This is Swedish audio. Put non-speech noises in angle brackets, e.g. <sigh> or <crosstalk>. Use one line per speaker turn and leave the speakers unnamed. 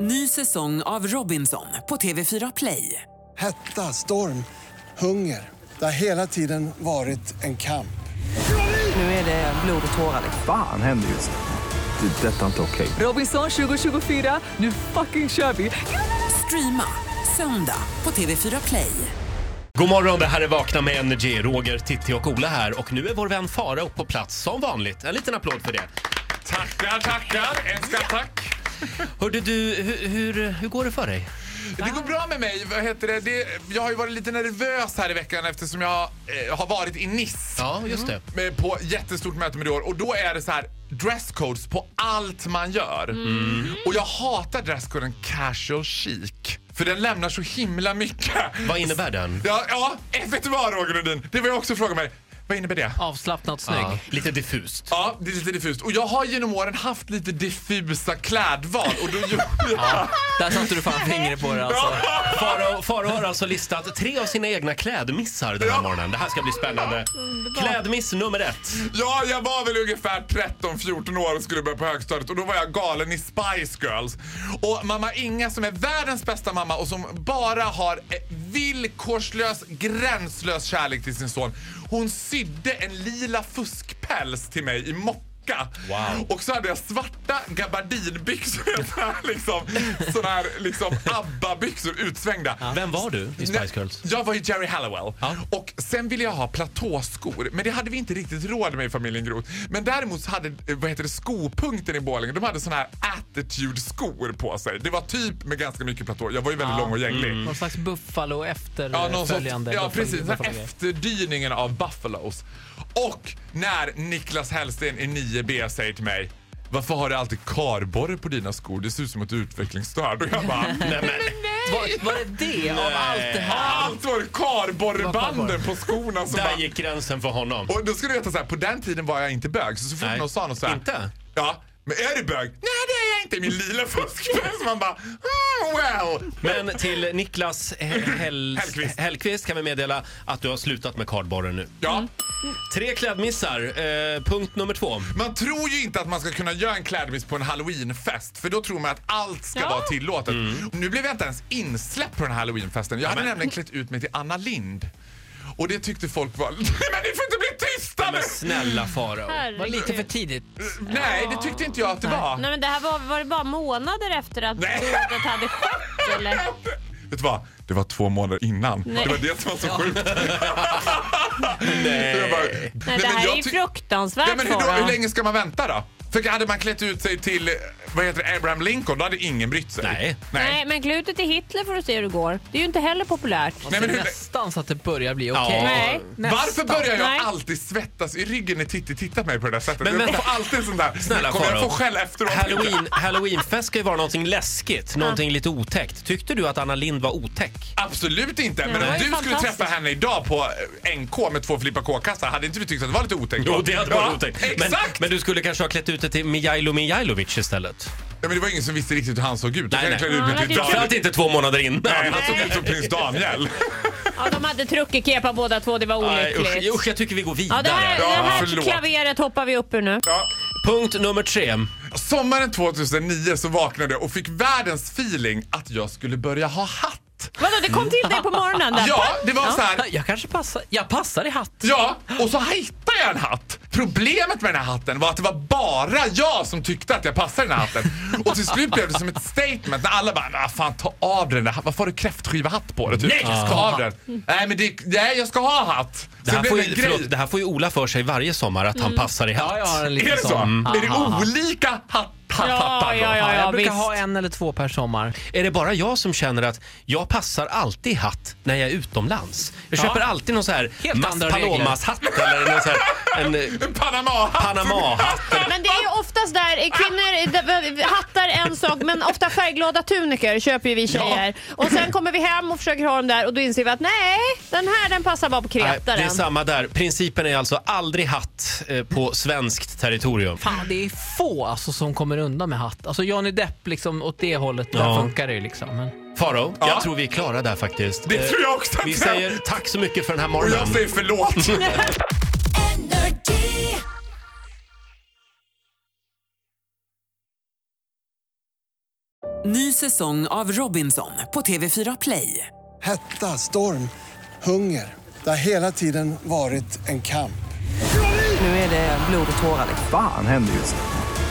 Ny säsong av Robinson på TV4 Play.
Hetta, storm, hunger. Det har hela tiden varit en kamp.
Nu är det blod och tårar. liksom.
Fan händer just nu. Det. är Detta är inte okej.
Robinson 2024, nu fucking kör vi! Streama söndag på TV4 Play.
God morgon, det här är Vakna med Energy. Roger, Titti och Ola här. Och nu är vår vän Farao på plats som vanligt. En liten applåd för det.
Tackar, tackar. En ska tack.
Hörde du, hur, hur, hur går det för dig?
Det går bra med mig. Vad heter det? Det, jag har ju varit lite nervös här i veckan eftersom jag eh, har varit i Nice
Ja, just det.
med, på jättestort möte med år. Och då är det så här dresscodes på allt man gör.
Mm.
Och jag hatar dresscoden casual chic. För den lämnar så himla mycket.
Vad innebär den?
Ja, ja eh, vet du vad Roger Nordin? Det var jag också fråga mig. Vad innebär det?
Avslappnat snygg.
Ja, lite diffust.
Ja, det är lite diffust. Och jag har genom åren haft lite diffusa klädval och då gjorde jag...
Där satte du fan fingret på det alltså.
Farao Farao har alltså listat tre av sina egna klädmissar den här morgonen. Det här ska bli spännande. Klädmiss nummer ett.
Ja, jag var väl ungefär 13-14 år och skulle börja på högstadiet och då var jag galen i Spice Girls. Och mamma Inga som är världens bästa mamma och som bara har eh, villkorslös, gränslös kärlek till sin son. Hon sydde en lila fuskpäls till mig i mocka.
Wow.
Och så hade jag svarta gabardinbyxor, <laughs> så här liksom, såna här liksom ABBA-byxor utsvängda.
Vem var du i
Nej,
Spice Girls?
Jag var ju Jerry Halliwell.
Ja.
Och sen ville jag ha platåskor, men det hade vi inte riktigt råd med i familjen Groth. Men däremot så hade eh, vad heter det, skopunkten i Borlänge, de hade såna här attitude-skor på sig. Det var typ med ganska mycket platå. Jag var ju väldigt lång och gänglig.
Mm.
Någon slags buffalo efter eh,
Ja, någon sorts,
följande.
ja
buffalo-
precis. Den här
buffalo-grej.
efterdyningen av Buffalos. Och när Niklas Hellsten i 9B säger till mig varför har du alltid karborre på dina skor? Det ser ut som att du är utvecklingsstörd. Och jag bara,
<laughs> Nej, men,
Var, var det det av allt det här?
allt var det karborrebanden på skorna. som
där
bara-
gick gränsen för honom.
Och då ska du veta så här, på den tiden var jag inte bög. Så, så fort
Nej.
någon sa något så här,
Inte?
Ja. Men är du bög? Nej det är jag inte! i Min lila fuskpäls. Man bara, mm, well.
Men till Niklas He- Hell-
Hellqvist.
Hellqvist kan vi meddela att du har slutat med kardborren nu.
Ja.
Tre klädmissar. Eh, punkt nummer två.
Man tror ju inte att man ska kunna göra en klädmiss på en halloweenfest för då tror man att allt ska vara tillåtet.
Mm.
Nu blev jag inte ens insläppt på den här halloweenfesten. Jag hade nämligen klätt ut mig till Anna Lind. Och det tyckte folk var... <laughs> Nej men ni får inte bli tysta
Men
nu!
snälla Farao.
Var det lite för tidigt?
Nej det tyckte inte jag att det var.
Nej men det här var, var det bara månader efter att
Nej.
dådet hade skett eller?
Vet du vad? Det var två månader innan.
Nej.
Det var det som var så sjukt. Nej.
Eh,
Jag bara, nej,
Nej, det
men
här
jag
är ju
ty-
fruktansvärt
Nej, men hur, då,
Sara.
hur länge ska man vänta då? För hade man klätt ut sig till eh, vad heter det, Abraham Lincoln då hade ingen brytt sig.
Nej.
Nej.
Nej men klutet till Hitler får du se hur det går. Det är ju inte heller populärt.
Nej, men hur,
Nästan så att det börjar bli okej.
Ja.
Nej.
varför börjar jag
Nej.
alltid svettas i ryggen när Titti tittar på mig på det där sättet?
Men
jag
vänta.
får alltid en sån där...
Snälla
Kommer jag
Farao.
få skäll efteråt?
Halloween, Halloweenfest ska ju vara någonting läskigt, någonting lite otäckt. Tyckte du att Anna Lind var otäck?
Absolut inte. Men om
det var ju
du skulle
fantastiskt.
träffa henne idag på eh, NK med två Filippa K-kassar, hade inte du tyckt att det var lite otäckt? då? Ja,
Men,
Exakt!
men du skulle kanske ha klätt ut dig till Mijailo Mijailovic istället.
Ja, men det var ingen som visste riktigt hur han såg ut.
Nej, nej.
Jag klädde ut mig till
Ja,
För att
Daniel.
inte två månader innan.
Nej, han såg ut som prins Daniel.
Ja, de hade truckig kepa båda två, det var
Nej, usch,
olyckligt.
usch, jag tycker vi går vidare.
Ja, det här,
Ja,
det här
förlåt.
klaveret hoppar vi upp ur nu.
Punkt nummer tre.
Sommaren 2009 så vaknade jag och fick världens feeling att jag skulle börja ha hatt.
Vadå, det kom till dig på morgonen? Där.
Ja, det var så här.
Jag kanske passar. Jag passar i hatt.
Ja, och så hittade jag en hatt. Problemet med den här hatten var att det var bara jag som tyckte att jag passade den här hatten. Och till slut blev det som ett statement när alla bara, "Men vad fan ta av dig den där hatten. Varför har du kräftskiva hatt på dig? Typ. Nej, jag ska ha den. Nej, men det, nej, jag ska ha hatt.
Det
Så det
här,
blev
får
en
ju,
grej.
förlåt, det här får ju Ola för sig varje sommar, att
Mm.
han passar i hatt.
Ja, jag har en
Är
liten
det så? Mm.
sån.
Är det olika hatt, hatt, hattar
ja,
då?
ja, ja,
jag
ja
brukar
visst.
ha en eller två per sommar.
Är det bara jag som känner att jag passar alltid hatt när jag är utomlands? Jag
Ja.
köper alltid någon så här
Helt
Mas
andra regler.
Palomas-hatt eller någon så här, en
<laughs>
eh,
En Panama-hatt.
Panama-hatt.
Men det är ju oftast där, eh, kvinnor eh, hattar en sak men ofta färgglada tuniker köper ju vi tjejer. Och sen kommer vi hem och försöker ha dem där och då inser vi att nej, den här den passar bara på
Nej, det är
kretaren.
samma där. Principen är alltså aldrig hatt eh, på svenskt territorium.
Fan, det är få alltså, som kommer undan med hatt. Alltså Johnny Depp liksom, åt det hållet, där
Ja.
funkar det ju liksom. Men...
Faro,
Ja.
jag tror vi är klara där faktiskt.
Det
Eh,
tror jag också att
Vi
jag-
säger tack så mycket för den här
Och
morgonen.
jag säger förlåt.
Ny Ny säsong av Robinson på TV4 Play.
Hetta, storm, hunger. Det har hela tiden varit en kamp.
Nu är det blod och tårar.
Fan händer just det.